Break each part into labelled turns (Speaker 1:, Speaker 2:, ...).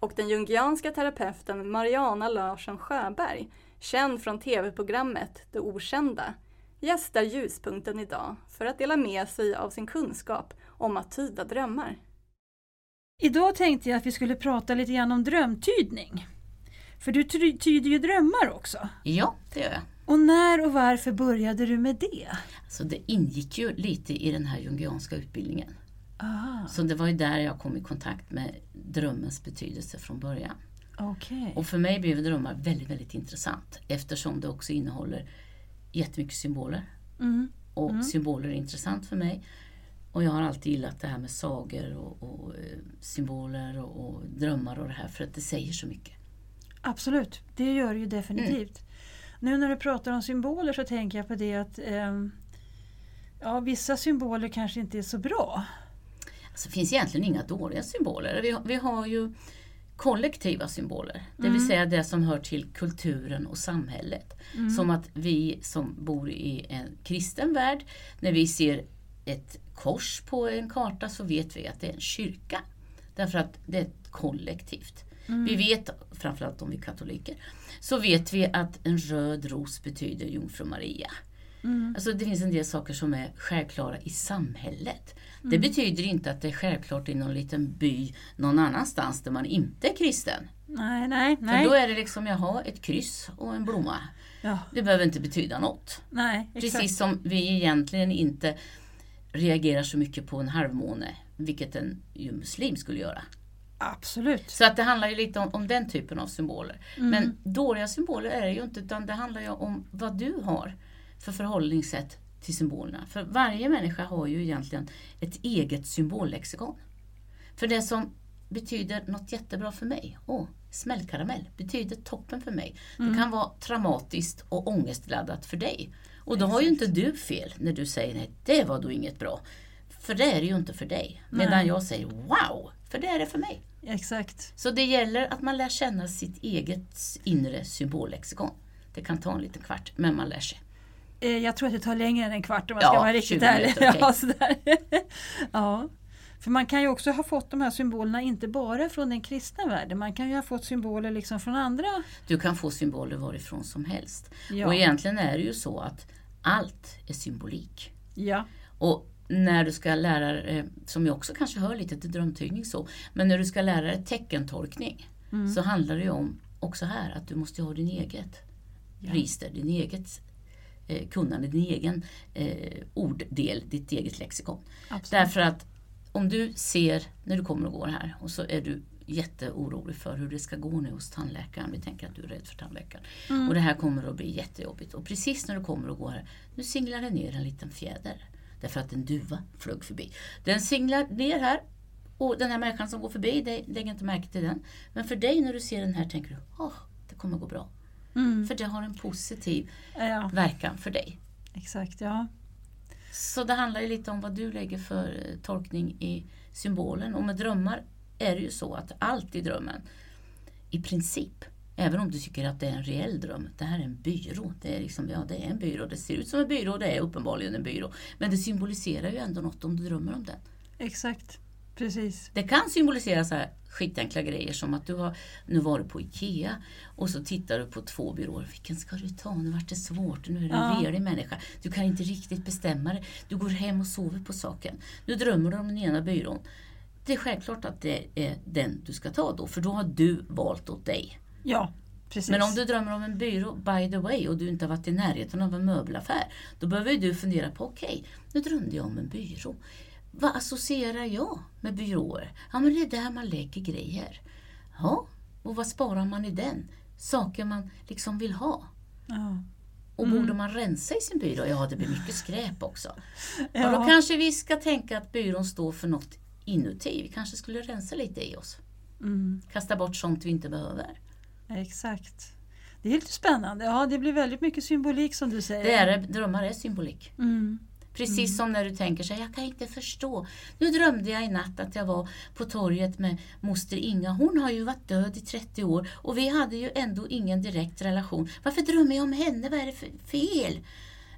Speaker 1: och den jungianska terapeuten Mariana Larsson Sjöberg, känd från tv-programmet Det Okända, gästar Ljuspunkten idag för att dela med sig av sin kunskap om att tyda drömmar.
Speaker 2: Idag tänkte jag att vi skulle prata lite grann om drömtydning. För du ty- tyder ju drömmar också.
Speaker 3: Ja, det gör jag.
Speaker 2: Och när och varför började du med det?
Speaker 3: Så det ingick ju lite i den här jungianska utbildningen.
Speaker 2: Ah,
Speaker 3: Så det var ju där jag kom i kontakt med drömmens betydelse från början.
Speaker 2: okej.
Speaker 3: Och för mig blev drömmar väldigt, väldigt intressant eftersom det också innehåller jättemycket symboler.
Speaker 2: Mm.
Speaker 3: Och symboler är intressant för mig. Och jag har alltid gillat det här med sagor och, och eh, symboler och, och drömmar och det här för att det säger så mycket.
Speaker 2: Absolut, det gör det ju definitivt.
Speaker 3: Mm.
Speaker 2: Nu när du pratar om symboler så tänker jag på det att ehm, ja, vissa symboler kanske inte är så bra.
Speaker 3: Alltså, det finns egentligen inga dåliga symboler. Vi har, vi har ju kollektiva symboler, det vill säga det som hör till kulturen och samhället. Som att vi som bor i en kristen värld, när vi ser ett kors på en karta så vet vi att det är en kyrka. Därför att det är ett kollektivt. Vi vet, framförallt om vi är katoliker, så vet vi att en röd ros betyder Jungfru Maria. Alltså det finns en del saker som är självklara i samhället. Det
Speaker 2: Mm.
Speaker 3: betyder inte att det är självklart i någon liten by någon annanstans där man inte är kristen.
Speaker 2: Nej, nej,
Speaker 3: För
Speaker 2: nej.
Speaker 3: då är det liksom, jaha, ett kryss och en blomma.
Speaker 2: Ja,
Speaker 3: Det behöver inte betyda något.
Speaker 2: nej, exakt.
Speaker 3: Precis som vi egentligen inte reagerar så mycket på en halvmåne, vilket en ju muslim skulle göra.
Speaker 2: Absolut.
Speaker 3: Så att det handlar ju lite om, om den typen av symboler. Men dåliga symboler är det ju inte, utan det handlar ju om vad du har för förhållningssätt till symbolerna. För varje människa har ju egentligen ett eget symbollexikon. För det som betyder något jättebra för mig, åh, smällkaramell, betyder toppen för mig. Det kan vara traumatiskt och ångestladdat för dig. Och då har ju inte du fel när du säger nej, det var då inget bra. För det är det ju inte för dig. Medan jag säger wow, för det är det för mig.
Speaker 2: Exakt.
Speaker 3: Så det gäller att man lär känna sitt eget inre symbollexikon. Det kan ta en liten kvart, men man lär sig.
Speaker 2: Eh, Jag tror att det tar längre än en kvart om man
Speaker 3: Ja,
Speaker 2: ska vara riktigt
Speaker 3: 20
Speaker 2: ärlig.
Speaker 3: minuter, okej.
Speaker 2: Ja, sådär. ja. För man kan ju också ha fått de här symbolerna inte bara från den kristna världen. Man kan ju ha fått symboler liksom från andra.
Speaker 3: Du kan få symboler varifrån som helst.
Speaker 2: Ja.
Speaker 3: Och egentligen är det ju så att allt är symbolik.
Speaker 2: Ja.
Speaker 3: Och när du ska lära dig, som jag också kanske hör lite till drömtydning så, men när du ska lära dig teckentolkning så handlar det ju om, också här, att du måste ha din eget register, din eget eh, kunnande, din egen eh, orddel, ditt eget lexikon.
Speaker 2: Absolut.
Speaker 3: Därför att om du ser när du kommer och går här och så är du jätteorolig för hur det ska gå nu hos tandläkaren. Vi tänker att du är rädd för tandläkaren. Och det här kommer att bli jättejobbigt. Och precis när du kommer och går här, nu singlar det ner en liten fjäder. Därför att en duva flög förbi. Den singlar ner här och den här människan som går förbi, det lägger inte märke till den. Men för dig när du ser den här tänker du, åh, det kommer gå bra. För det har en positiv
Speaker 2: Eh, Ja,
Speaker 3: verkan för dig.
Speaker 2: exakt. Ja.
Speaker 3: Så det handlar ju lite om vad du lägger för eh, tolkning i symbolen. Och med drömmar är det ju så att allt i drömmen, i princip, även om du tycker att det är en reell dröm, det här är en byrå. Det är liksom, ja det är en byrå, det ser ut som en byrå, det är uppenbarligen en byrå. Men det symboliserar ju ändå något om du drömmer om den.
Speaker 2: Exakt. Precis.
Speaker 3: Det kan symbolisera så här skitenkla grejer som att du har nu varit på IKEA och så tittar du på två byråer. Vilken ska du ta? Nu vart det svårt. Nu är det en
Speaker 2: Ja.
Speaker 3: redig människa. Du kan inte riktigt bestämma dig. Du går hem och sover på saken. Nu drömmer du om den ena byrån. Det är självklart att det är den du ska ta då, för då har du valt åt dig.
Speaker 2: Ja, precis.
Speaker 3: Men om du drömmer om en byrå, by the way, och du inte har varit i närheten av en möbelaffär, då behöver ju du fundera på, okej, nu drömde jag om en byrå. Vad associerar jag med byråer? Ja, men det är där man lägger grejer. Ja, och vad sparar man i den? Saker man liksom vill ha.
Speaker 2: ja.
Speaker 3: Och borde man rensa i sin byrå? Ja, det blir mycket skräp också. Ja.
Speaker 2: Ja.
Speaker 3: Då kanske vi ska tänka att byrån står för något inuti. Vi kanske skulle rensa lite i oss.
Speaker 2: Mm.
Speaker 3: Kasta bort sånt vi inte behöver.
Speaker 2: Exakt. Det är lite spännande. Ja, det blir väldigt mycket symbolik som du säger.
Speaker 3: Det är, det. drömmar är symbolik.
Speaker 2: Mm.
Speaker 3: Precis som när du tänker så här, jag kan inte förstå. Nu drömde jag i natt att jag var på torget med moster Inga. Hon har ju varit död i 30 år och vi hade ju ändå ingen direkt relation. Varför drömmer jag om henne? Vad är det för fel?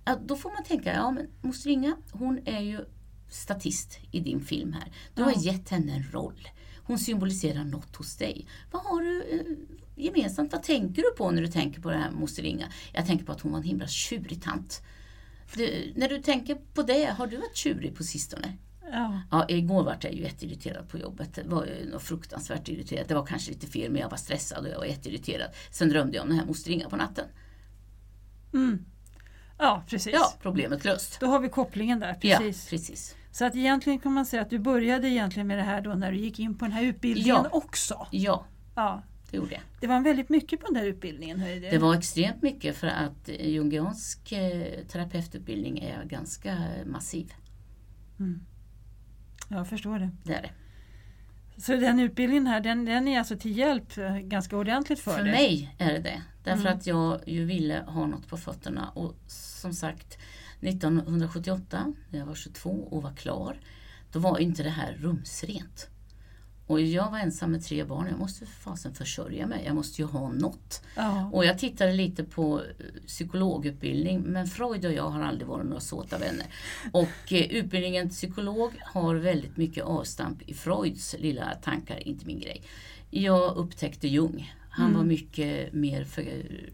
Speaker 3: Ja, då får man tänka, ja men moster Inga, hon är ju statist i din film här. Du har
Speaker 2: Ja.
Speaker 3: gett henne en roll. Hon symboliserar något hos dig. Vad har du eh, gemensamt? Vad tänker du på när du tänker på det här moster Inga? Jag tänker på att hon var en himla tjurig tant. Du, när du tänker på det, har du varit tjurig på sistone?
Speaker 2: Ja.
Speaker 3: Ja, igår var jag ju jätteirriterad på jobbet. Det var ju något fruktansvärt irriterad. Det var kanske lite fel, men jag var stressad och jag var jätteirriterad. Sen drömde jag om den här moster Inga på natten.
Speaker 2: Mm. ja, precis.
Speaker 3: Ja, problemet löst.
Speaker 2: Då har vi kopplingen där.
Speaker 3: Ja,
Speaker 2: Precis.
Speaker 3: precis.
Speaker 2: Så att egentligen kan man säga att du började egentligen med det här då när du gick in på den här utbildningen
Speaker 3: Ja.
Speaker 2: också.
Speaker 3: Ja,
Speaker 2: Ja.
Speaker 3: det gjorde jag.
Speaker 2: Det var väldigt mycket på den där utbildningen. Hörde du.
Speaker 3: Det var extremt mycket för att eh, jungiansk eh, terapeututbildning är ganska eh, massiv.
Speaker 2: Jag förstår det.
Speaker 3: Det är det.
Speaker 2: Så den utbildningen här, den, den är alltså till hjälp eh, ganska ordentligt för,
Speaker 3: För
Speaker 2: dig?
Speaker 3: mig är det det. Därför att jag ju ville ha något på fötterna. Och som sagt, 1978 när jag var 22 och var klar, då var ju inte det här rumsrent. Och jag var ensam med tre barn, jag måste för fasen försörja mig, jag måste ju ha något.
Speaker 2: Ja.
Speaker 3: Och jag tittade lite på eh, psykologutbildning, men Freud och jag har aldrig varit några såta vänner. Och eh, utbildningen till psykolog har väldigt mycket avstamp i Freuds lilla tankar, inte min grej. Jag upptäckte Jung. Han var
Speaker 2: Mm.
Speaker 3: mycket mer för eh,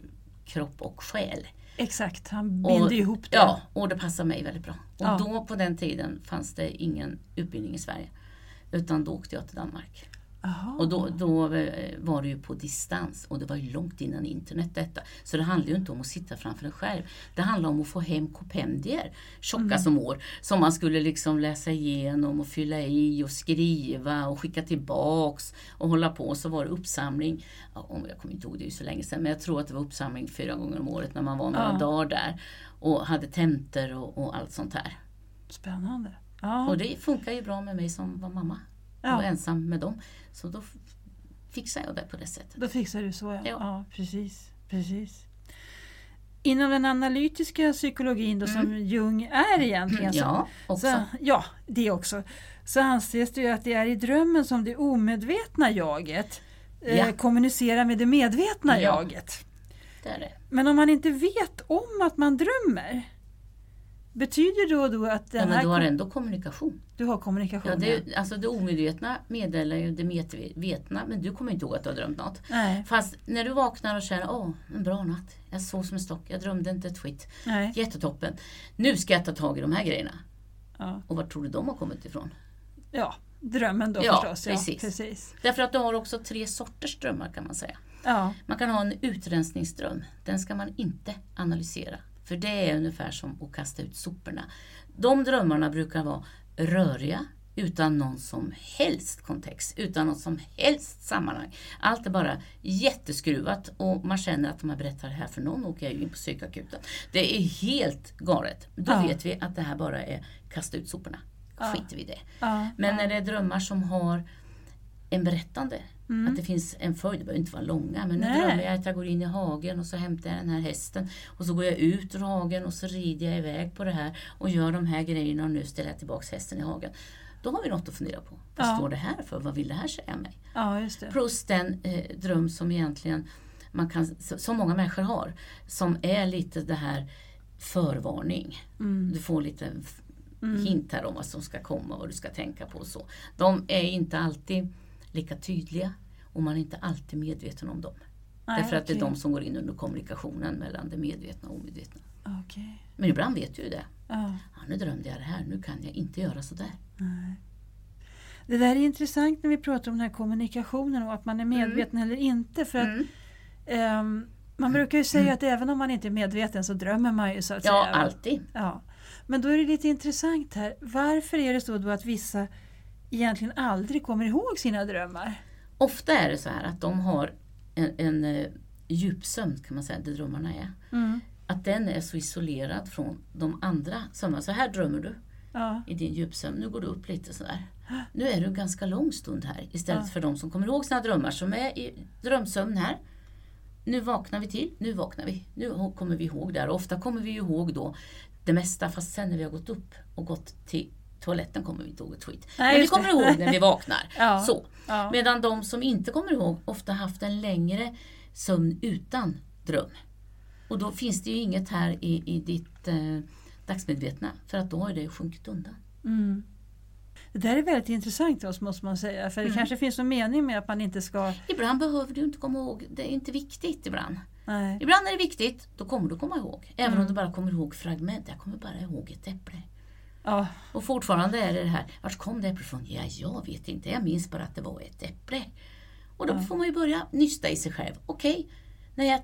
Speaker 3: kropp och själ.
Speaker 2: Exakt, han
Speaker 3: Och-
Speaker 2: binder ihop det.
Speaker 3: Ja, och det passar mig väldigt bra. Och
Speaker 2: Ja.
Speaker 3: då på den tiden fanns det ingen utbildning i Sverige. Utan då åkte jag till Danmark.
Speaker 2: Aha.
Speaker 3: Och då, då eh, var det ju på distans och det var ju långt innan internet detta. Så det handlar ju inte om att sitta framför en skärm. Det handlar om att få hem kompendier, tjocka
Speaker 2: Mm.
Speaker 3: som år, som man skulle liksom läsa igenom och fylla i och skriva och skicka tillbaks och hålla på. Så var det uppsamling, ja, om- jag kommer inte ihåg det är ju så länge sedan, men jag tror att det var uppsamling fyra gånger om året när man var några
Speaker 2: Ja.
Speaker 3: dagar där och hade tentor och, och allt sånt här.
Speaker 2: Spännande. Ja.
Speaker 3: Och det funkar ju bra med mig som var mamma och
Speaker 2: ja.
Speaker 3: ensam med dem. Så då f- fixar jag det på det sättet.
Speaker 2: Då fixar du så ja.
Speaker 3: Ja.
Speaker 2: ja precis, precis. Inom den analytiska psykologin då, som
Speaker 3: Mm.
Speaker 2: Jung är egentligen, så-
Speaker 3: Ja, också.
Speaker 2: Mm. Så, ja, det också. Så anses det ju att det är i drömmen som det omedvetna jaget
Speaker 3: Ja.
Speaker 2: eh, kommunicerar med det medvetna
Speaker 3: Ja.
Speaker 2: jaget.
Speaker 3: Det är det.
Speaker 2: Men om man inte vet om att man drömmer, betyder då, då att den
Speaker 3: Ja,
Speaker 2: här
Speaker 3: men du har
Speaker 2: kom-
Speaker 3: ändå kommunikation.
Speaker 2: du har kommunikation?
Speaker 3: Ja,
Speaker 2: ja.
Speaker 3: det, alltså det omedvetna meddelar ju det medvetna, men du kommer inte ihåg att du har drömt något.
Speaker 2: Nej,
Speaker 3: Fast när du vaknar och känner åh, en bra natt. Jag sov som en stock, jag drömde inte ett skit.
Speaker 2: nej.
Speaker 3: Jättetoppen. Nu ska jag ta tag i de här grejerna.
Speaker 2: Ja.
Speaker 3: Och var tror du de har kommit ifrån?
Speaker 2: ja, drömmen då
Speaker 3: Ja,
Speaker 2: förstås.
Speaker 3: precis.
Speaker 2: Ja, precis.
Speaker 3: Därför att du har också tre sorters drömmar kan man säga.
Speaker 2: Ja,
Speaker 3: Man kan ha en utrensningsdröm. Den ska man inte analysera. För det är ungefär som att kasta ut soporna. De drömmarna brukar vara röriga, utan någon som helst kontext, utan något som helst sammanhang. Allt är bara jätteskruvat och man känner att om jag berättar det här för någon åker jag ju in på psykakuten. Det är helt galet. Då
Speaker 2: Ja.
Speaker 3: vet vi att det här bara är kasta ut soporna. Skiter vi i det.
Speaker 2: ja,
Speaker 3: Men när det är drömmar som har en berättande, att det finns en följd, det behöver inte vara långa, men nu
Speaker 2: Mm. Nej.
Speaker 3: drömmer jag att jag går in i hagen och så hämtar jag den här hästen och så går jag ut ur hagen och så rider jag iväg på det här och gör de här grejerna och nu ställer jag tillbaks hästen i hagen. Då har vi något att fundera på. Vad
Speaker 2: Ja.
Speaker 3: står det här för? Vad vill det här säga mig?
Speaker 2: ja, just det.
Speaker 3: Plus den eh, dröm som egentligen man kan, så- som många människor har, som är lite det här förvarning.
Speaker 2: Mm.
Speaker 3: Du får lite f- hint här om vad som ska komma, vad du ska tänka på och så. De är inte alltid lika tydliga och man är inte alltid medveten om dem.
Speaker 2: Nej,
Speaker 3: Därför att det är
Speaker 2: okej.
Speaker 3: de som går in under kommunikationen mellan det medvetna och omedvetna.
Speaker 2: Okej.
Speaker 3: Men ibland vet du ju det.
Speaker 2: Ja.
Speaker 3: Ja, nu drömde jag det här, nu kan jag inte göra sådär.
Speaker 2: Det där är intressant när vi pratar om den här kommunikationen och att man
Speaker 3: Mm.
Speaker 2: är medveten eller inte. För att ehm, Man brukar ju säga att även om man inte är medveten så drömmer man ju så att
Speaker 3: Ja,
Speaker 2: säga.
Speaker 3: alltid.
Speaker 2: Ja. Men då är det lite intressant här. Varför är det så då att vissa egentligen aldrig kommer ihåg sina drömmar?
Speaker 3: Ofta är det så här att de har en, en eh, djupsömn kan man säga, det drömmarna är.
Speaker 2: Mm.
Speaker 3: Att den är så isolerad från de andra sömnarna. Så här drömmer du
Speaker 2: Ja.
Speaker 3: i din djupsömn. Nu går du upp lite sådär. Nu är du en ganska lång stund här istället för de som kommer ihåg sina drömmar som är i drömsömn här. nu vaknar vi till, nu vaknar vi, nu kommer vi ihåg det här. Och ofta kommer vi ihåg då det mesta, fast sen när vi har gått upp och gått till toaletten kommer vi inte ihåg ett skit.
Speaker 2: Nej,
Speaker 3: Men vi
Speaker 2: just det.
Speaker 3: kommer ihåg när vi vaknar.
Speaker 2: Ja.
Speaker 3: Så.
Speaker 2: Ja.
Speaker 3: Medan de som inte kommer ihåg ofta haft en längre sömn utan dröm. Och då finns det ju inget här i, i ditt eh, dagsmedvetna, för att då har ju det sjunkit undan.
Speaker 2: Mm. Det där är väldigt intressant för oss måste man säga. För
Speaker 3: Mm.
Speaker 2: det kanske finns någon mening med att man inte ska...
Speaker 3: Ibland behöver du inte komma ihåg, det är inte viktigt ibland.
Speaker 2: Nej.
Speaker 3: Ibland är det viktigt, då kommer du komma ihåg. Även om du bara kommer ihåg fragment. Jag kommer bara ihåg ett äpple.
Speaker 2: Ja.
Speaker 3: Och fortfarande är det det här, vart kom det äpplet ifrån? Ja, jag vet inte, jag minns bara att det var ett äpple. Och då får man ju börja nysta i sig själv. Okej, när jag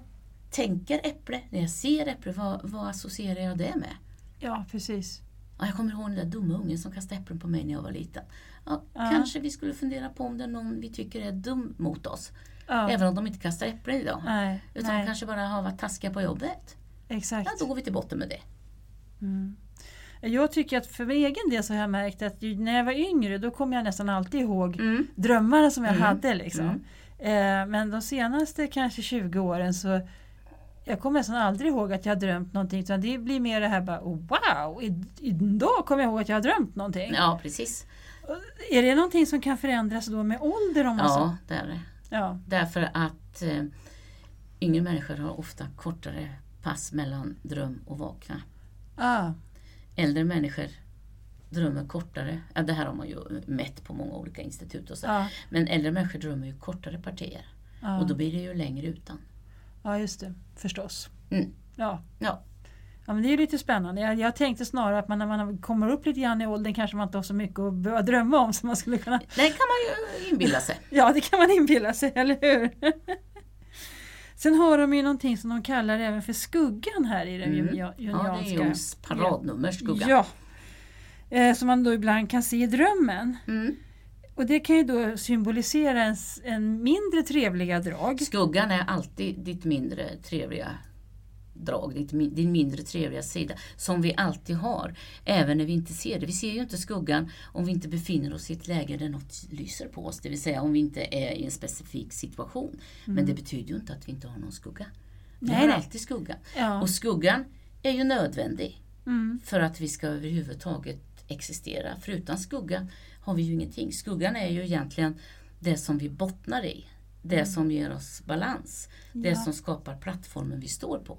Speaker 3: tänker äpple, när jag ser äpple, vad, vad associerar jag det med?
Speaker 2: ja, precis.
Speaker 3: Ja, jag kommer ihåg den där dumma ungen som kastade äpplen på mig när jag var liten. Ja, Kanske vi skulle fundera på om det är någon vi tycker är dum mot oss.
Speaker 2: Ja.
Speaker 3: Även om de inte kastar äpplen idag.
Speaker 2: Nej,
Speaker 3: Utan
Speaker 2: nej,
Speaker 3: kanske bara har varit taskiga på jobbet.
Speaker 2: exakt.
Speaker 3: Ja, då går vi till botten med det.
Speaker 2: Jag tycker att för min egen del så har jag märkt att ju- när jag var yngre då kom jag nästan alltid ihåg
Speaker 3: Mm.
Speaker 2: drömmarna som jag hade. Liksom. Eh, men de senaste kanske 20 åren så jag kommer nästan aldrig ihåg att jag har drömt någonting. Utan det blir mer det här bara oh, wow, i- idag kommer jag ihåg att jag har drömt någonting.
Speaker 3: Ja, precis.
Speaker 2: Är det någonting som kan förändras då med ålder? Om man så?
Speaker 3: Ja, det är det.
Speaker 2: Ja.
Speaker 3: Därför att eh, yngre människor har ofta kortare pass mellan dröm och vakna.
Speaker 2: Ah,
Speaker 3: Äldre människor drömmer kortare. Ja, det här har man ju eh, mätt på många olika institut och så.
Speaker 2: Ja.
Speaker 3: Men äldre människor drömmer ju kortare partier.
Speaker 2: Ja.
Speaker 3: Och då blir det ju längre utan.
Speaker 2: ja, just det. Förstås.
Speaker 3: Mm.
Speaker 2: Ja.
Speaker 3: Ja,
Speaker 2: Ja, men det är ju lite spännande. Jag, jag tänkte snarare att man, när man kommer upp lite grann i åldern kanske man inte har så mycket att behöva drömma om som man skulle kunna...
Speaker 3: det kan man ju inbilla sig.
Speaker 2: Ja, det kan man inbilla sig, eller hur? Sen har de ju någonting som de kallar även för skuggan här i den mm.
Speaker 3: Ja, det är ju Jungs paradnummer, skugga.
Speaker 2: Ja. Eh, som man då ibland kan se i drömmen.
Speaker 3: Mm.
Speaker 2: Och det kan ju då symbolisera en, s- en mindre trevliga drag.
Speaker 3: Skuggan är alltid ditt mindre trevliga drag, ditt, min- din mindre trevliga sida som vi alltid har, även när vi inte ser det. Vi ser ju inte skuggan om vi inte befinner oss i ett läge där något lyser på oss, det vill säga om vi inte är i en specifik situation. Men det betyder ju inte att vi inte har någon skugga. Vi
Speaker 2: Mm. Nej,
Speaker 3: har
Speaker 2: nej.
Speaker 3: alltid skuggan.
Speaker 2: Ja.
Speaker 3: Och skuggan är ju nödvändig
Speaker 2: Mm.
Speaker 3: för att vi ska överhuvudtaget existera. För utan skugga har vi ju ingenting. Skuggan är ju egentligen det som vi bottnar i. Det som ger oss balans. Det
Speaker 2: Mm. Ja. Mm.
Speaker 3: som skapar plattformen vi står på.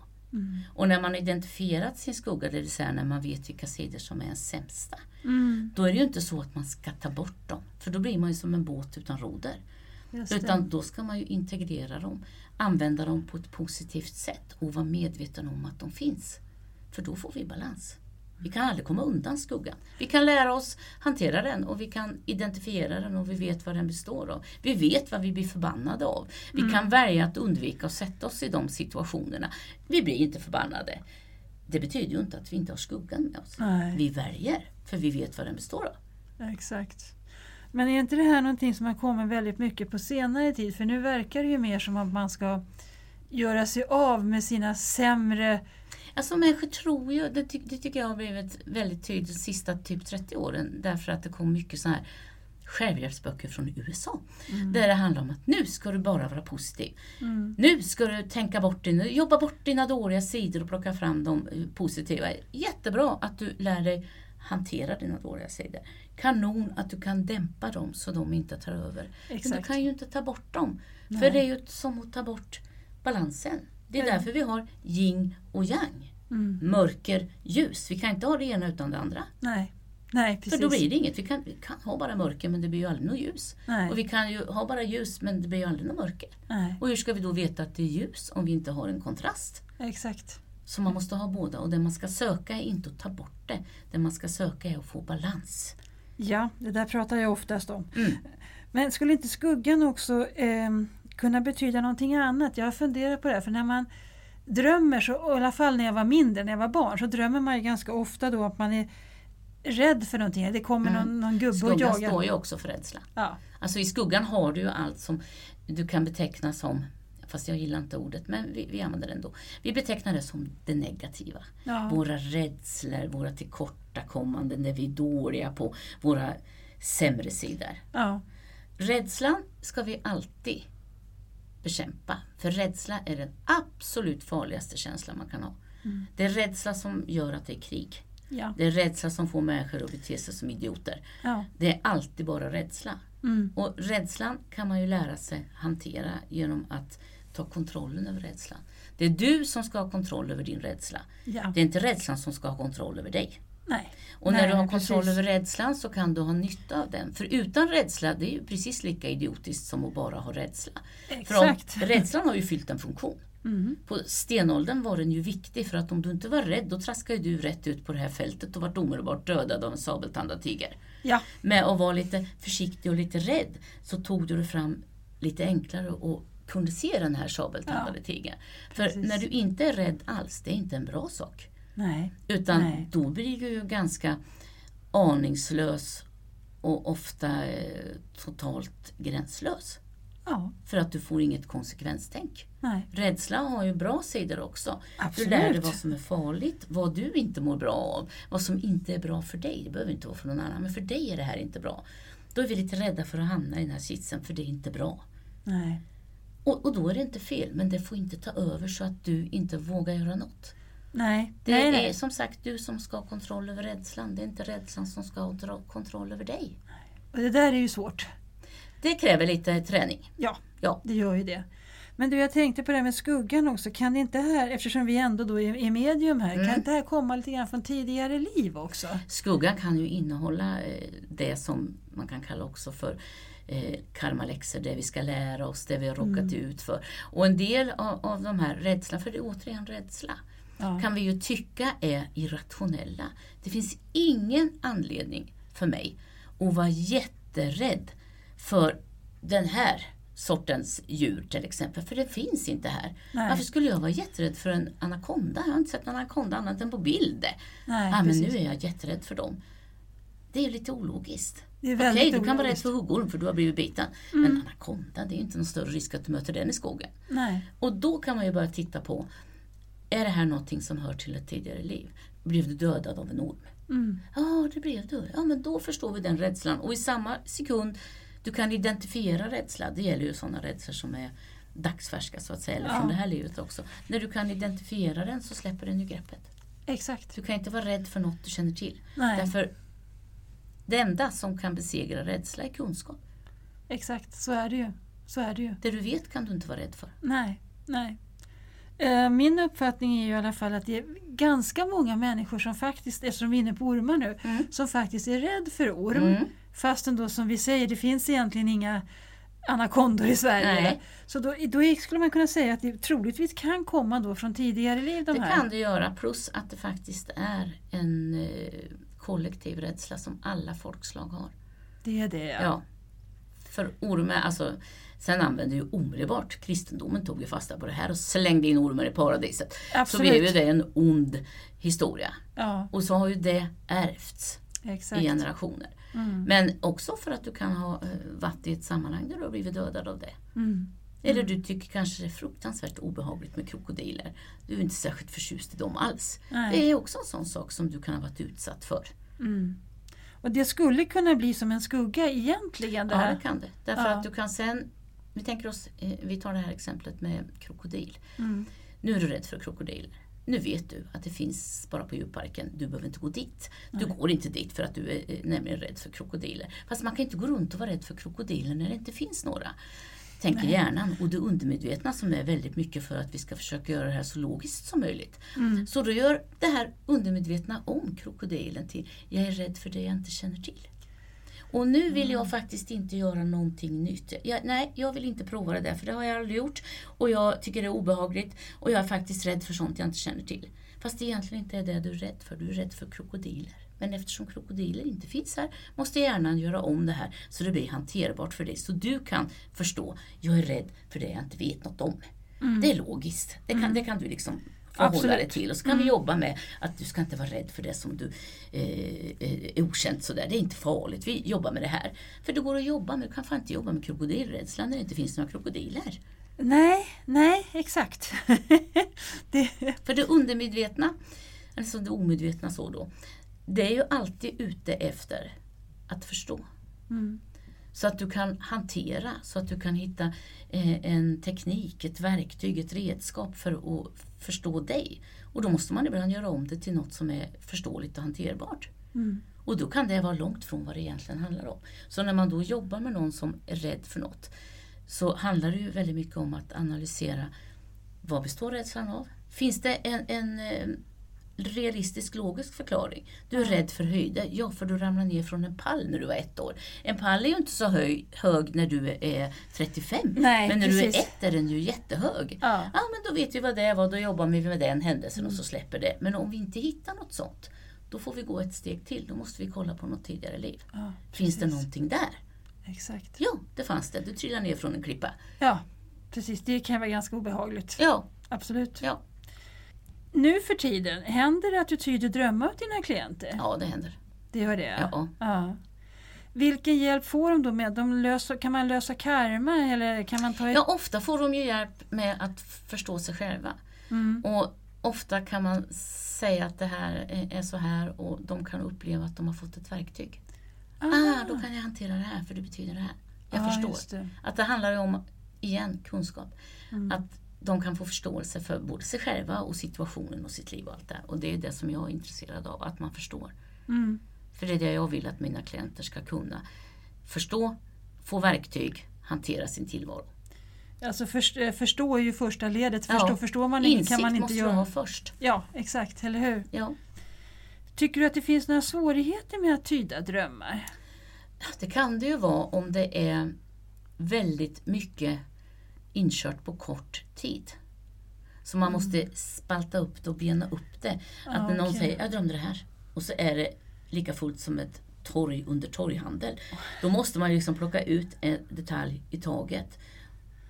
Speaker 3: Och när man har identifierat sin skugga, det vill säga när man vet vilka sidor som är ens sämsta,
Speaker 2: Mm,
Speaker 3: då är det ju inte så att man ska ta bort dem. För då blir man ju som en båt utan roder.
Speaker 2: just det.
Speaker 3: Utan då ska man ju integrera dem, använda dem på ett positivt sätt och vara medveten om att de finns. För då får vi balans. Vi kan aldrig komma undan skuggan. Vi kan lära oss hantera den och vi kan identifiera den och vi vet vad den består av. Vi vet vad vi blir förbannade av. Vi
Speaker 2: Mm.
Speaker 3: kan välja att undvika att sätta oss i de situationerna. Vi blir inte förbannade. Det betyder ju inte att vi inte har skuggan med oss.
Speaker 2: Nej.
Speaker 3: Vi väljer, för vi vet vad den består av.
Speaker 2: Exakt. Men är inte det här någonting som har kommit väldigt mycket på senare tid? För nu verkar det ju mer som att man ska göra sig av med sina sämre...
Speaker 3: Alltså människor tror ju, det, ty- det tycker jag har blivit väldigt tydligt de sista typ 30 åren därför att det kom mycket så här självhjälpsböcker från USA. Där det handlar om att nu ska du bara vara positiv. Nu ska du tänka bort dina, jobba bort dina dåliga sidor och plocka fram de eh, positiva. Jättebra att du lär dig hantera dina dåliga sidor. Kanon att du kan dämpa dem så de inte tar över. Men du
Speaker 2: Exakt.
Speaker 3: kan ju inte ta bort dem. För det är ju som att ta bort balansen. Det är därför vi har yin och yang.
Speaker 2: Mm.
Speaker 3: Mörker, ljus. Vi kan inte ha det ena utan det andra.
Speaker 2: Nej, nej precis.
Speaker 3: För då blir det inget. Vi kan, vi kan ha bara mörker men det blir ju aldrig något ljus.
Speaker 2: Nej.
Speaker 3: Och vi kan ju ha bara ljus men det blir ju aldrig något mörker.
Speaker 2: Nej,
Speaker 3: Och hur ska vi då veta att det är ljus om vi inte har en kontrast?
Speaker 2: exakt.
Speaker 3: Så man måste ha båda och det man ska söka är inte att ta bort det. Det man ska söka är att få balans.
Speaker 2: Ja, det där pratar jag oftast om.
Speaker 3: Mm.
Speaker 2: Men skulle inte skuggan också ehm, kunna betyda någonting annat? Jag har funderat på det här, för när man drömmer, så, och i alla fall när jag var mindre, när jag var barn, så drömmer man ju ganska ofta då att man är rädd för någonting. Det kommer någon, någon gubbe och
Speaker 3: Mm. Skuggan
Speaker 2: jagar.
Speaker 3: står ju också för rädsla.
Speaker 2: Ja.
Speaker 3: Alltså i skuggan har du ju allt som du kan beteckna som, fast jag gillar inte ordet, men vi, vi använder det ändå. Vi betecknar det som det negativa.
Speaker 2: Ja.
Speaker 3: Våra rädslor, våra tillkortakommanden, det vi är dåliga på, våra sämre sidor.
Speaker 2: Ja.
Speaker 3: Rädslan ska vi alltid bekämpa. För rädsla är den absolut farligaste känslan man kan ha.
Speaker 2: Mm.
Speaker 3: Det är rädsla som gör att det är krig.
Speaker 2: Ja.
Speaker 3: Det är rädsla som får människor att bete sig som idioter.
Speaker 2: Ja.
Speaker 3: Det är alltid bara rädsla.
Speaker 2: Mm.
Speaker 3: Och rädslan kan man ju lära sig hantera genom att ta kontrollen över rädslan. Det är du som ska ha kontroll över din rädsla.
Speaker 2: Ja.
Speaker 3: Det är inte rädslan som ska ha kontroll över dig.
Speaker 2: Nej.
Speaker 3: Och
Speaker 2: Nej,
Speaker 3: när du har
Speaker 2: precis.
Speaker 3: kontroll över rädslan så kan du ha nytta av den. För utan rädsla, det är ju precis lika idiotiskt som att bara ha rädsla.
Speaker 2: Exakt. Mm.
Speaker 3: För om, rädslan har ju fyllt en funktion. På stenåldern var den ju viktig för att om du inte var rädd då traskade ju du rätt ut på det här fältet och vart omedelbart dödad av en sabeltandad tiger.
Speaker 2: Ja.
Speaker 3: Med att vara lite försiktig och lite rädd så tog du dig fram lite enklare och kunde se den här sabeltandade tigern. För
Speaker 2: precis.
Speaker 3: när du inte är rädd alls, det är inte en bra sak.
Speaker 2: Nej.
Speaker 3: Utan
Speaker 2: Nej.
Speaker 3: då blir du ju ganska aningslös och ofta eh, totalt gränslös.
Speaker 2: Ja.
Speaker 3: För att du får inget konsekvenstänk.
Speaker 2: Nej.
Speaker 3: Rädsla har ju bra sidor också.
Speaker 2: Absolut.
Speaker 3: Du lär dig vad som är farligt, vad du inte mår bra av, vad som inte är bra för dig. Det behöver inte vara för någon annan, men för dig är det här inte bra. Då är vi lite rädda för att hamna i den här sitsen, för det är inte bra.
Speaker 2: Nej.
Speaker 3: Och, och då är det inte fel, men det får inte ta över så att du inte vågar göra något.
Speaker 2: Nej.
Speaker 3: Det
Speaker 2: nej,
Speaker 3: är
Speaker 2: nej.
Speaker 3: som sagt du som ska ha kontroll över rädslan. Det är inte rädslan som ska ha dra- kontroll över dig.
Speaker 2: Och det där är ju svårt.
Speaker 3: Det kräver lite träning.
Speaker 2: Ja,
Speaker 3: Ja.
Speaker 2: det gör ju det. Men du, jag tänkte på det här med skuggan också. Kan det inte här, eftersom vi ändå då är är medium här,
Speaker 3: Mm.
Speaker 2: kan inte det här komma lite grann från tidigare liv också?
Speaker 3: Skuggan kan ju innehålla eh, det som man kan kalla också för eh, karmaläxor, det vi ska lära oss, det vi har
Speaker 2: Mm.
Speaker 3: råkat ut för. Och en del av, av de här rädslan, för det är återigen rädsla,
Speaker 2: Ja.
Speaker 3: kan vi ju tycka är irrationella. Det finns ingen anledning för mig att vara jätterädd för den här sortens djur till exempel, för det finns inte här.
Speaker 2: Nej.
Speaker 3: Varför skulle jag vara jätterädd för en anakonda? Jag har inte sett någon anakonda annat än på bild.
Speaker 2: Nej,
Speaker 3: ah, men
Speaker 2: precis.
Speaker 3: nu är jag jätterädd för dem. Det är ju lite ologiskt.
Speaker 2: Det är
Speaker 3: Okej,
Speaker 2: väldigt
Speaker 3: du kan vara
Speaker 2: ologiskt.
Speaker 3: rädd
Speaker 2: Mm.
Speaker 3: för huggorm för du har blivit biten. Men anakonda, det är ju inte någon större risk att du möter den i skogen.
Speaker 2: Nej.
Speaker 3: Och då kan man ju börja titta på, är det här någonting som hör till ett tidigare liv? Blev du dödad av en orm?
Speaker 2: Mm.
Speaker 3: Ja, det blev du. Ja, men då förstår vi den rädslan. Och i samma sekund du kan identifiera rädsla, det gäller ju sådana rädslor som är dagsfärska så att säga, eller från det här livet också. När du kan identifiera den så släpper den ju greppet.
Speaker 2: Exakt.
Speaker 3: Du kan inte vara rädd för något du känner till.
Speaker 2: Nej.
Speaker 3: Därför, det enda som kan besegra rädsla är kunskap.
Speaker 2: Exakt, så är det ju. Så är det ju.
Speaker 3: Det du vet kan du inte vara rädd för.
Speaker 2: Nej, nej. Eh, Min uppfattning är ju i alla fall att det är ganska många människor som faktiskt, eftersom vi är inne på ormar nu,
Speaker 3: Mm.
Speaker 2: som faktiskt är rädd för orm. Fastän då som vi säger, det finns egentligen inga anakondor i Sverige.
Speaker 3: Nej.
Speaker 2: Så då, då är- skulle man kunna säga att det troligtvis kan komma då från tidigare liv de
Speaker 3: det
Speaker 2: här.
Speaker 3: kan du göra, plus att det faktiskt är en eh, kollektiv rädsla som alla folkslag har.
Speaker 2: Det är det ja.
Speaker 3: Ja. För ormar, alltså, sen använde ju omedelbart, kristendomen tog ju fasta på det här och slängde in ormar i paradiset.
Speaker 2: Absolut.
Speaker 3: Så blev ju det en ond historia.
Speaker 2: Ja,
Speaker 3: Och så har ju det ärvts.
Speaker 2: exakt. Mm.
Speaker 3: i generationer. Men också för att du kan ha eh, varit i ett sammanhang där du har blivit dödad av det.
Speaker 2: Mm.
Speaker 3: Eller du tycker kanske det är fruktansvärt obehagligt med krokodiler. Du är inte särskilt förtjust i dem alls.
Speaker 2: Nej.
Speaker 3: Det är också en sån sak som du kan ha varit utsatt för.
Speaker 2: Och det skulle kunna bli som en skugga egentligen. Det
Speaker 3: Ja,
Speaker 2: här.
Speaker 3: det kan det. Därför
Speaker 2: Ja.
Speaker 3: att du kan sen, vi tänker oss, eh, vi tar det här exemplet med krokodil.
Speaker 2: Mm.
Speaker 3: Nu är du rädd för krokodiler. Nu vet du att det finns bara på djurparken, du behöver inte gå dit. Du går inte dit för att du är eh, nämligen rädd för krokodiler. Fast man kan inte gå runt och vara rädd för krokodiler när det inte finns några. Tänker hjärnan och det undermedvetna som är väldigt mycket för att vi ska försöka göra det här så logiskt som möjligt.
Speaker 2: Mm.
Speaker 3: Så då gör det här undermedvetna om krokodilen till, jag är rädd för det jag inte känner till. Och nu vill jag faktiskt inte göra någonting nytt. Jag, nej, jag vill inte prova det där för det har jag aldrig gjort och jag tycker det är obehagligt och jag är faktiskt rädd för sånt jag inte känner till. Fast det egentligen inte är det du är rädd för, du är rädd för krokodiler. Men eftersom krokodiler inte finns här måste hjärnan göra om det här så det blir hanterbart för dig. Så du kan förstå, jag är rädd för det jag inte vet något om. Det är logiskt, det kan, det kan du liksom förhålla dig
Speaker 2: Absolut.
Speaker 3: till. Och så kan vi jobba med att du ska inte vara rädd för det som du eh, eh, är okänt sådär. Det är inte farligt, vi jobbar med det här. För det går att jobba med, du kan fan inte jobba med krokodilrädslan när det inte finns några krokodiler.
Speaker 2: Nej, nej, exakt. det,
Speaker 3: För det undermedvetna, alltså det omedvetna så då, det är ju alltid ute efter att förstå. Så att du kan hantera, så att du kan hitta eh, en teknik, ett verktyg, ett redskap för att förstå dig. Och då måste man ibland göra om det till något som är förståeligt och hanterbart.
Speaker 2: Mm.
Speaker 3: Och då kan det vara långt från vad det egentligen handlar om. Så när man då jobbar med någon som är rädd för något så handlar det ju väldigt mycket om att analysera vad består rädslan av? Finns det en, en eh, realistisk logisk förklaring? Du är rädd för höjder, ja för du ramlar ner från en pall när du var ett år. En pall är ju inte så hög, hög när du är eh, 35,
Speaker 2: Nej,
Speaker 3: men när du är
Speaker 2: precis.
Speaker 3: ett är den ju jättehög.
Speaker 2: Ja. Mm.
Speaker 3: Ja men då vet vi vad det var, då jobbar vi med den händelsen och så släpper det. Men om vi inte hittar något sånt, då får vi gå ett steg till. Då måste vi kolla på något tidigare liv.
Speaker 2: Ja,
Speaker 3: Finns det
Speaker 2: precis.
Speaker 3: någonting där?
Speaker 2: Exakt.
Speaker 3: Ja, det fanns det. Du trillade ner från en klippa.
Speaker 2: Ja, precis. Det kan vara ganska obehagligt.
Speaker 3: Ja,
Speaker 2: Absolut.
Speaker 3: ja,
Speaker 2: Nu för tiden, händer det att du tyder drömmar åt dina klienter?
Speaker 3: ja det händer.
Speaker 2: Det gör det?
Speaker 3: Ja.
Speaker 2: Ja. Vilken hjälp får de då med? De löser, kan man lösa karma eller kan man ta ett...
Speaker 3: Ja, ofta får de ju hjälp med att förstå sig själva.
Speaker 2: Mm.
Speaker 3: Och ofta kan man säga att det här är- är så här och de kan uppleva att de har fått ett verktyg. Ah, då kan jag hantera det här för det betyder det här. Jag
Speaker 2: Ja,
Speaker 3: förstår.
Speaker 2: just det.
Speaker 3: Att det handlar ju om, igen, kunskap.
Speaker 2: Mm.
Speaker 3: Att de kan få förståelse för både sig själva och situationen och sitt liv och allt det här. Och det är det som jag är intresserad av, att man förstår.
Speaker 2: Mm.
Speaker 3: För det är det jag vill att mina klienter ska kunna. Förstå, få verktyg, hantera sin tillvaro.
Speaker 2: Alltså först, eh, förstå är ju första ledet.
Speaker 3: Ja.
Speaker 2: Förstå, Förstår man inget
Speaker 3: Insikt
Speaker 2: kan man inte
Speaker 3: måste du
Speaker 2: göra.
Speaker 3: ha först.
Speaker 2: Ja, exakt. Eller hur?
Speaker 3: Ja.
Speaker 2: Tycker du att det finns några svårigheter med att tyda drömmar?
Speaker 3: Det kan det ju vara om det är väldigt mycket inkört på kort tid. Så man måste spalta upp det och bena upp det. Att
Speaker 2: Ja,
Speaker 3: när någon
Speaker 2: okej.
Speaker 3: säger jag drömde det här och så är det lika fullt som ett torg under torghandel. Då måste man ju liksom plocka ut en detalj i taget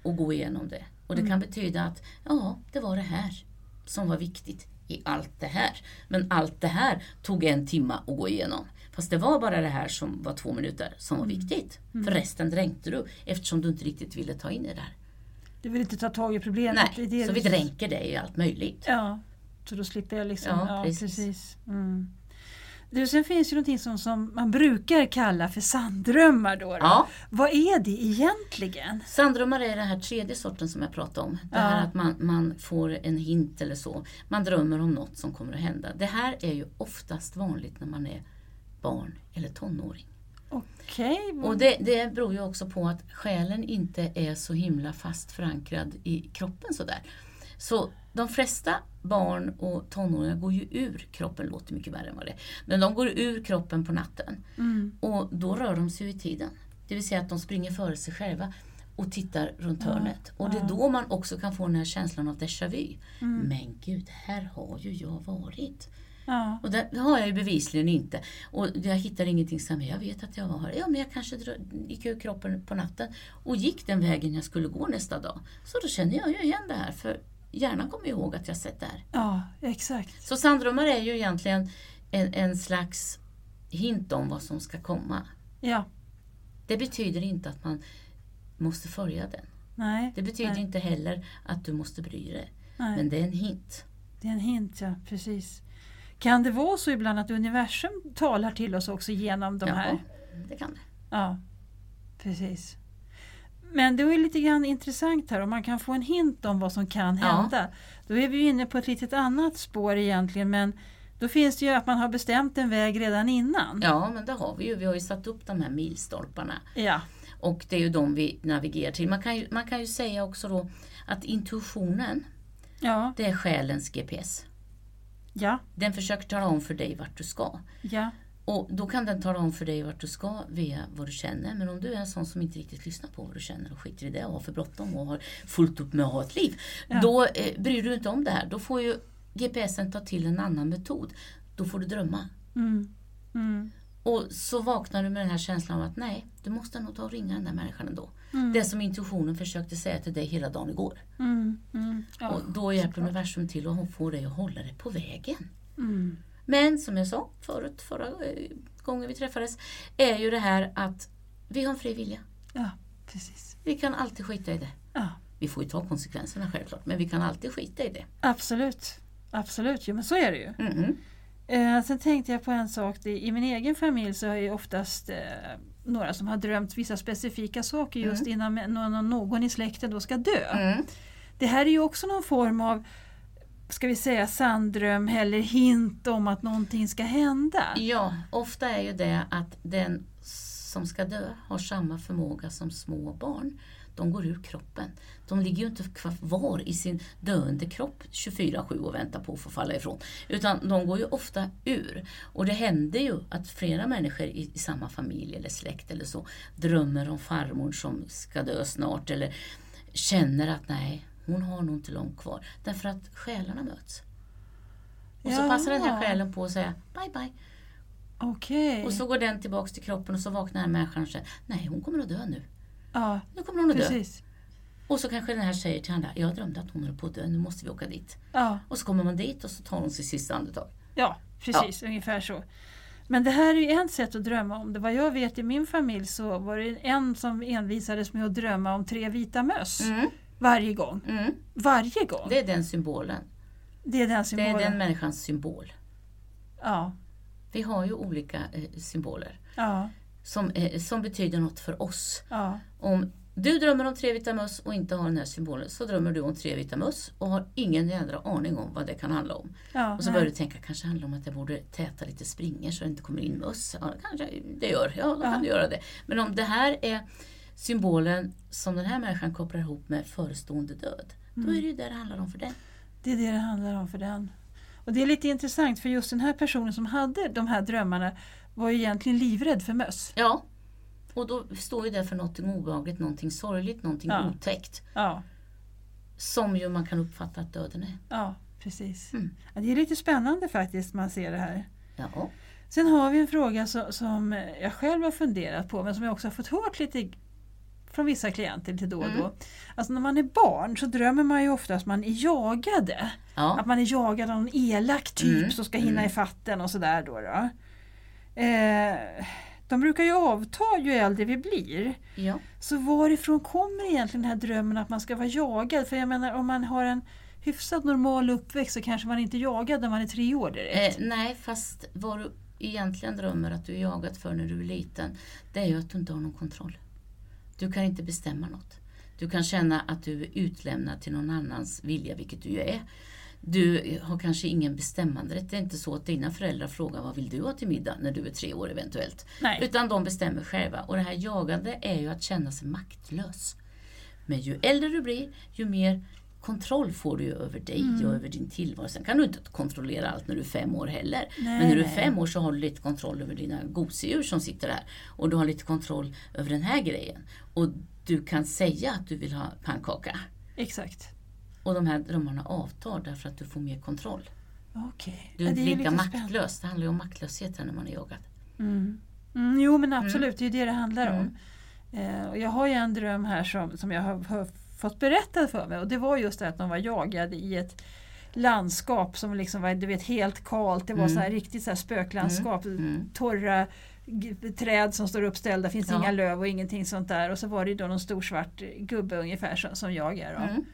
Speaker 3: och gå igenom det. Och det kan betyda att ja, det var det här som var viktigt i allt det här. Men allt det här tog en timme att gå igenom. Fast det var bara det här som var två minuter som var viktigt. För resten dränkte du eftersom du inte riktigt ville ta in det där.
Speaker 2: Du vill inte ta tag i problemet? det är det
Speaker 3: Nej, så
Speaker 2: du-
Speaker 3: vi dränker dig i allt möjligt.
Speaker 2: Ja, så då slipper jag liksom...
Speaker 3: Ja,
Speaker 2: Ja, precis.
Speaker 3: precis.
Speaker 2: Mm. Du, sen finns ju någonting som, som man brukar kalla för sanddrömmar. Då, då.
Speaker 3: Ja.
Speaker 2: Vad är det egentligen?
Speaker 3: Sanddrömmar är den här tredje sorten som jag pratade om. Det här
Speaker 2: Ja.
Speaker 3: att man, man får en hint eller så. Man drömmer om något som kommer att hända. Det här är ju oftast vanligt när man är barn eller tonåring.
Speaker 2: Okej,
Speaker 3: Och det, det beror ju också på att själen inte är så himla fast förankrad i kroppen sådär. Så de flesta barn och tonåringar går ju ur kroppen, låter mycket värre än vad det är. Men de går ur kroppen på natten. Och då rör de sig ju i tiden. Det vill säga att de springer före sig själva och tittar runt hörnet. Och det är då man också kan få den här känslan av déjà vu. Men gud, här har ju jag varit.
Speaker 2: ja.
Speaker 3: Och det, det har jag ju bevisligen inte. Och jag hittar ingenting som jag vet att jag har. Ja, men jag kanske drö- gick ur kroppen på natten och gick den vägen jag skulle gå nästa dag. Så då känner jag ju igen det här, för hjärnan kommer ju ihåg att jag sett det här.
Speaker 2: ja, exakt.
Speaker 3: Så sanddrömmar är ju egentligen en, en slags hint om vad som ska komma.
Speaker 2: Ja,
Speaker 3: Det betyder inte att man måste följa den.
Speaker 2: nej.
Speaker 3: Det betyder
Speaker 2: nej,
Speaker 3: inte heller att du måste bry dig.
Speaker 2: nej.
Speaker 3: Men det är en hint.
Speaker 2: Det är en hint, ja. Precis. Kan det vara så ibland att universum talar till oss också genom de här?
Speaker 3: det kan det.
Speaker 2: Ja, precis. Men det är lite grann intressant här om man kan få en hint om vad som kan
Speaker 3: Ja.
Speaker 2: hända. Då är vi ju inne på ett litet annat spår egentligen men då finns det ju att man har bestämt en väg redan innan.
Speaker 3: Ja, men det har vi ju. Vi har ju satt upp de här milstolparna.
Speaker 2: Ja,
Speaker 3: Och det är ju de vi navigerar till. Man kan ju, man kan ju säga också då att intuitionen,
Speaker 2: ja,
Speaker 3: det är själens GPS.
Speaker 2: ja,
Speaker 3: Den försöker tala om för dig vart du ska.
Speaker 2: ja.
Speaker 3: Och då kan den tala om för dig vart du ska via vad du känner. Men om du är en sån som inte riktigt lyssnar på vad du känner och skiter i det och har för bråttom och har fullt upp med att ha ett liv. Då eh, bryr du inte om det här. Då får ju GPSen ta till en annan metod. Då får du drömma.
Speaker 2: Mm, mm,
Speaker 3: Och så vaknar du med den här känslan av att nej, du måste nog ta och ringa den där människan ändå. Det som intuitionen försökte säga till dig hela dagen igår.
Speaker 2: mm, mm, ja.
Speaker 3: och då hjälper universum till och hon får dig att hålla dig på vägen.
Speaker 2: mm,
Speaker 3: Men som jag sa förut, förra eh, gången vi träffades, är ju det här att vi har en fri vilja.
Speaker 2: ja, precis.
Speaker 3: Vi kan alltid skita i det.
Speaker 2: Ja,
Speaker 3: Vi får ju ta konsekvenserna självklart, men vi kan alltid skita i det.
Speaker 2: absolut. Absolut, jo men så är det ju.
Speaker 3: Mhm.
Speaker 2: Eh, sen tänkte jag på en sak. Det- I min egen familj så är ju oftast eh, några som har drömt vissa specifika saker just innan men- någon, någon i släkten då ska dö.
Speaker 3: Mm.
Speaker 2: Det här är ju också någon form av ska vi säga sanddröm eller hint om att någonting ska hända.
Speaker 3: Ja, ofta är ju det att den som ska dö har samma förmåga som små barn. De går ur kroppen. De ligger ju inte kvar i sin döende kropp 24-7 och väntar på att få falla ifrån. Utan de går ju ofta ur. Och det händer ju att flera människor i, i samma familj eller släkt eller så drömmer om farmor som ska dö snart eller känner att nej, hon har nog inte långt kvar. Därför att själarna möts. Och så passar den här
Speaker 2: Jaha.
Speaker 3: själen på att säga bye bye.
Speaker 2: Okej.
Speaker 3: Och så går den tillbaks till kroppen och så vaknar den här människan och säger Nej, hon kommer att dö nu.
Speaker 2: Ja,
Speaker 3: Nu kommer hon att dö.
Speaker 2: precis.
Speaker 3: Och så kanske den här säger till andra Jag drömde att hon höll på att dö, nu måste vi åka dit.
Speaker 2: Ja,
Speaker 3: Och så kommer man dit och så tar hon sitt sista andetag.
Speaker 2: ja precis. Ungefär så. Men det här är ju ett sätt att drömma om det. Vad jag vet i min familj så var det en som envisades med att drömma om tre vita möss
Speaker 3: Mm,
Speaker 2: varje gång.
Speaker 3: mm.
Speaker 2: Varje gång?
Speaker 3: Det är den symbolen.
Speaker 2: Det är den
Speaker 3: Det
Speaker 2: symbolen?
Speaker 3: är den människans symbol.
Speaker 2: Ja.
Speaker 3: Vi har ju olika eh, symboler
Speaker 2: ja,
Speaker 3: som, eh, som betyder något för oss.
Speaker 2: ja,
Speaker 3: Om du drömmer om tre vita möss och inte har den här symbolen så drömmer du om tre vita möss och har ingen jädra aning om vad det kan handla om.
Speaker 2: ja.
Speaker 3: Och så
Speaker 2: nej.
Speaker 3: börjar du tänka, kanske handlar om att jag borde täta lite springor så det inte kommer in möss. Ja, kanske det gör. Ja, då
Speaker 2: Ja.
Speaker 3: kan du göra det. Men om det här är symbolen som den här människan kopplar ihop med förestående död, då
Speaker 2: Mm.
Speaker 3: är det ju det det handlar om för den.
Speaker 2: Det är det det handlar om för den. Och det är lite intressant för just den här personen som hade de här drömmarna var ju egentligen livrädd för möss.
Speaker 3: Ja, och då står ju det för någonting obehagligt, någonting sorgligt, någonting
Speaker 2: Ja.
Speaker 3: otäckt.
Speaker 2: Ja,
Speaker 3: Som ju man kan uppfatta att döden är.
Speaker 2: ja precis.
Speaker 3: Mm.
Speaker 2: Ja, det är lite spännande faktiskt man ser det här.
Speaker 3: Ja.
Speaker 2: Sen har vi en fråga så, som jag själv har funderat på men som jag också har fått hört lite från vissa klienter lite då och
Speaker 3: Mm.
Speaker 2: då. Alltså när man är barn så drömmer man ju ofta att man är jagade.
Speaker 3: Ja.
Speaker 2: Att man är jagad av en elak typ
Speaker 3: Mm,
Speaker 2: som ska hinna ifatt en och sådär då. då. Eh, de brukar ju avta ju äldre vi blir.
Speaker 3: ja.
Speaker 2: Så varifrån kommer egentligen den här drömmen att man ska vara jagad? För jag menar om man har en hyfsat normal uppväxt så kanske man inte är jagad när man är tre år
Speaker 3: Eh,
Speaker 2: direkt.
Speaker 3: nej, fast vad du egentligen drömmer att du är jagad för när du är liten, det är ju att du inte har någon kontroll. Du kan inte bestämma något. Du kan känna att du är utlämnad till någon annans vilja, vilket du ju är. Du har kanske ingen bestämmanderätt. Det är inte så att dina föräldrar frågar vad vill du ha till middag när du är tre år eventuellt.
Speaker 2: Nej.
Speaker 3: Utan de bestämmer själva. Och det här jagande är ju att känna sig maktlös. Men ju äldre du blir, ju mer kontroll får du ju över dig
Speaker 2: Mm.
Speaker 3: och över din tillvaro. Sen kan du inte kontrollera allt när du är fem år heller.
Speaker 2: Nej,
Speaker 3: Men när du är
Speaker 2: nej.
Speaker 3: fem år så har du lite kontroll över dina gosedjur som sitter där. Och du har lite kontroll över den här grejen. Och du kan säga att du vill ha pannkaka.
Speaker 2: Exakt.
Speaker 3: Och de här drömmarna avtar därför att du får mer kontroll.
Speaker 2: Okej.
Speaker 3: Du är inte
Speaker 2: ju
Speaker 3: lika
Speaker 2: lite spännande.
Speaker 3: maktlös. Det handlar ju om maktlöshet här när man är jagad.
Speaker 2: Mm. Mm, jo men absolut, det är ju det det handlar om.
Speaker 3: Mm.
Speaker 2: Eh, och jag har ju en dröm här som, som jag har, har fått berättad för mig och det var just det att de var jagade i ett landskap som liksom var du vet, helt kalt, det var så här riktigt så här spöklandskap.
Speaker 3: Mm.
Speaker 2: Torra g- träd som står uppställda, finns
Speaker 3: Ja.
Speaker 2: inga löv och ingenting sånt där. Och så var det ju då någon stor svart gubbe ungefär som, som jag är. Då.
Speaker 3: Mm.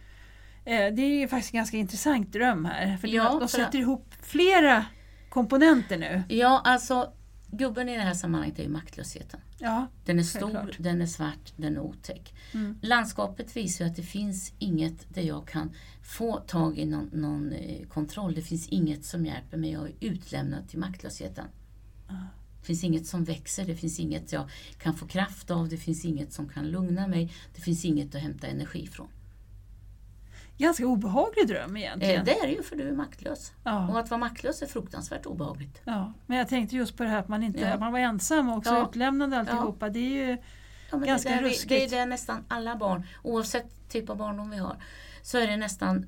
Speaker 2: Eh, det är ju faktiskt en ganska intressant dröm här. För
Speaker 3: Ja,
Speaker 2: de,
Speaker 3: för-
Speaker 2: de sätter ihop flera komponenter nu.
Speaker 3: Ja, alltså gubben i det här sammanhanget är ju maktlösheten.
Speaker 2: Ja,
Speaker 3: Den är stor,
Speaker 2: Självklart.
Speaker 3: den är svart, den är otäck.
Speaker 2: Mm.
Speaker 3: Landskapet visar ju att det finns inget där jag kan få tag i någon, någon eh, kontroll. Det finns inget som hjälper mig. Jag är utlämnad till maktlösheten.
Speaker 2: Ah.
Speaker 3: Det finns inget som växer, det finns inget jag kan få kraft av, det finns inget som kan lugna mig, det finns inget att hämta energi från.
Speaker 2: ganska obehaglig dröm
Speaker 3: Eh,
Speaker 2: egentligen.
Speaker 3: det är det ju för du är maktlös. Och
Speaker 2: Ja,
Speaker 3: att vara maktlös är fruktansvärt obehagligt.
Speaker 2: ja. Men jag tänkte just på det här att man, inte,
Speaker 3: Ja.
Speaker 2: att man var ensam och också
Speaker 3: Ja.
Speaker 2: utlämnande och alltihopa. Det är ju,
Speaker 3: Ja, men
Speaker 2: Ganska
Speaker 3: det, där vi,
Speaker 2: ruskigt.
Speaker 3: det är det nästan alla barn, oavsett typ av barndom vi har, så är det nästan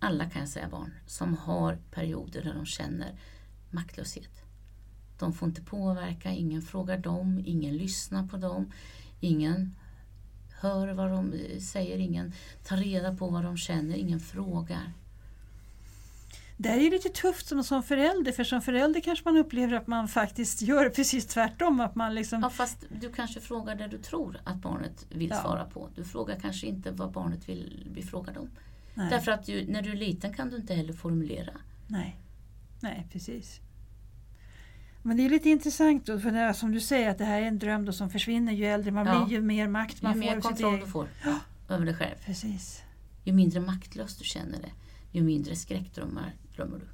Speaker 3: alla kan jag säga barn som har perioder där de känner maktlöshet. De får inte påverka, ingen frågar dem, ingen lyssnar på dem, ingen hör vad de eh, säger, ingen tar reda på vad de känner, ingen frågar.
Speaker 2: Mm. det här är ju lite tufft som, som förälder för som förälder kanske man upplever att man faktiskt gör precis tvärtom. Att man liksom,
Speaker 3: Ja, fast du kanske frågar det du tror att barnet vill
Speaker 2: Ja.
Speaker 3: svara på. Du frågar kanske inte vad barnet vill bli frågad om.
Speaker 2: nej,
Speaker 3: Därför att du, när du är liten kan du inte heller formulera.
Speaker 2: nej.
Speaker 4: Nej, precis. Men det är lite intressant då, för det är, som du säger att det här är en dröm då som försvinner ju äldre man
Speaker 3: Ja.
Speaker 4: blir, ju mer makt man
Speaker 3: ju
Speaker 4: får.
Speaker 3: mer
Speaker 4: över sitt
Speaker 3: kontroll du
Speaker 4: eget-
Speaker 3: får över dig själv,
Speaker 4: Precis.
Speaker 3: ju mindre maktlös du känner det, ju mindre skräckdrömmar drömmer du.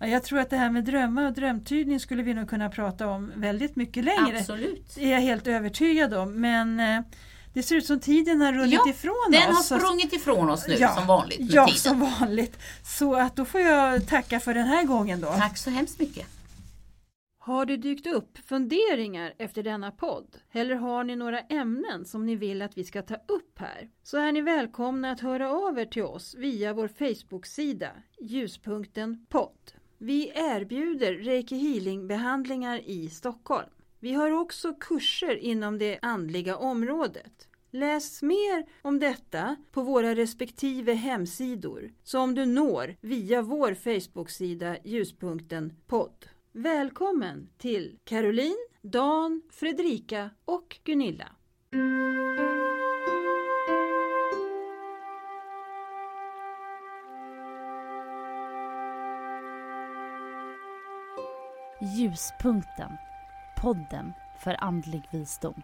Speaker 4: Ja, jag tror att det här med drömmar och drömtydning skulle vi nog kunna prata om väldigt mycket längre.
Speaker 3: Absolut.
Speaker 4: Det är jag helt övertygad om. Men eh, det ser ut som tiden har runnit
Speaker 3: Ja,
Speaker 4: ifrån
Speaker 3: Den har
Speaker 4: oss. alltså.
Speaker 3: sprungit ifrån oss nu
Speaker 4: Ja.
Speaker 3: som vanligt med
Speaker 4: ja,
Speaker 3: tiden.
Speaker 4: som vanligt. Så att då får jag tacka för den här gången då.
Speaker 3: Tack så hemskt mycket.
Speaker 2: Har det dykt upp funderingar efter denna podd? Eller har ni några ämnen som ni vill att vi ska ta upp här? Så är ni välkomna att höra av er till oss via vår Facebook-sida Ljuspunkten podd. Vi erbjuder Reiki Healing-behandlingar i Stockholm. Vi har också kurser inom det andliga området. Läs mer om detta på våra respektive hemsidor som du når via vår Facebook-sida Ljuspunkten podd. Välkommen till Caroline, Dan, Fredrika och Gunilla.
Speaker 5: Ljuspunkten. Podden för andlig visdom.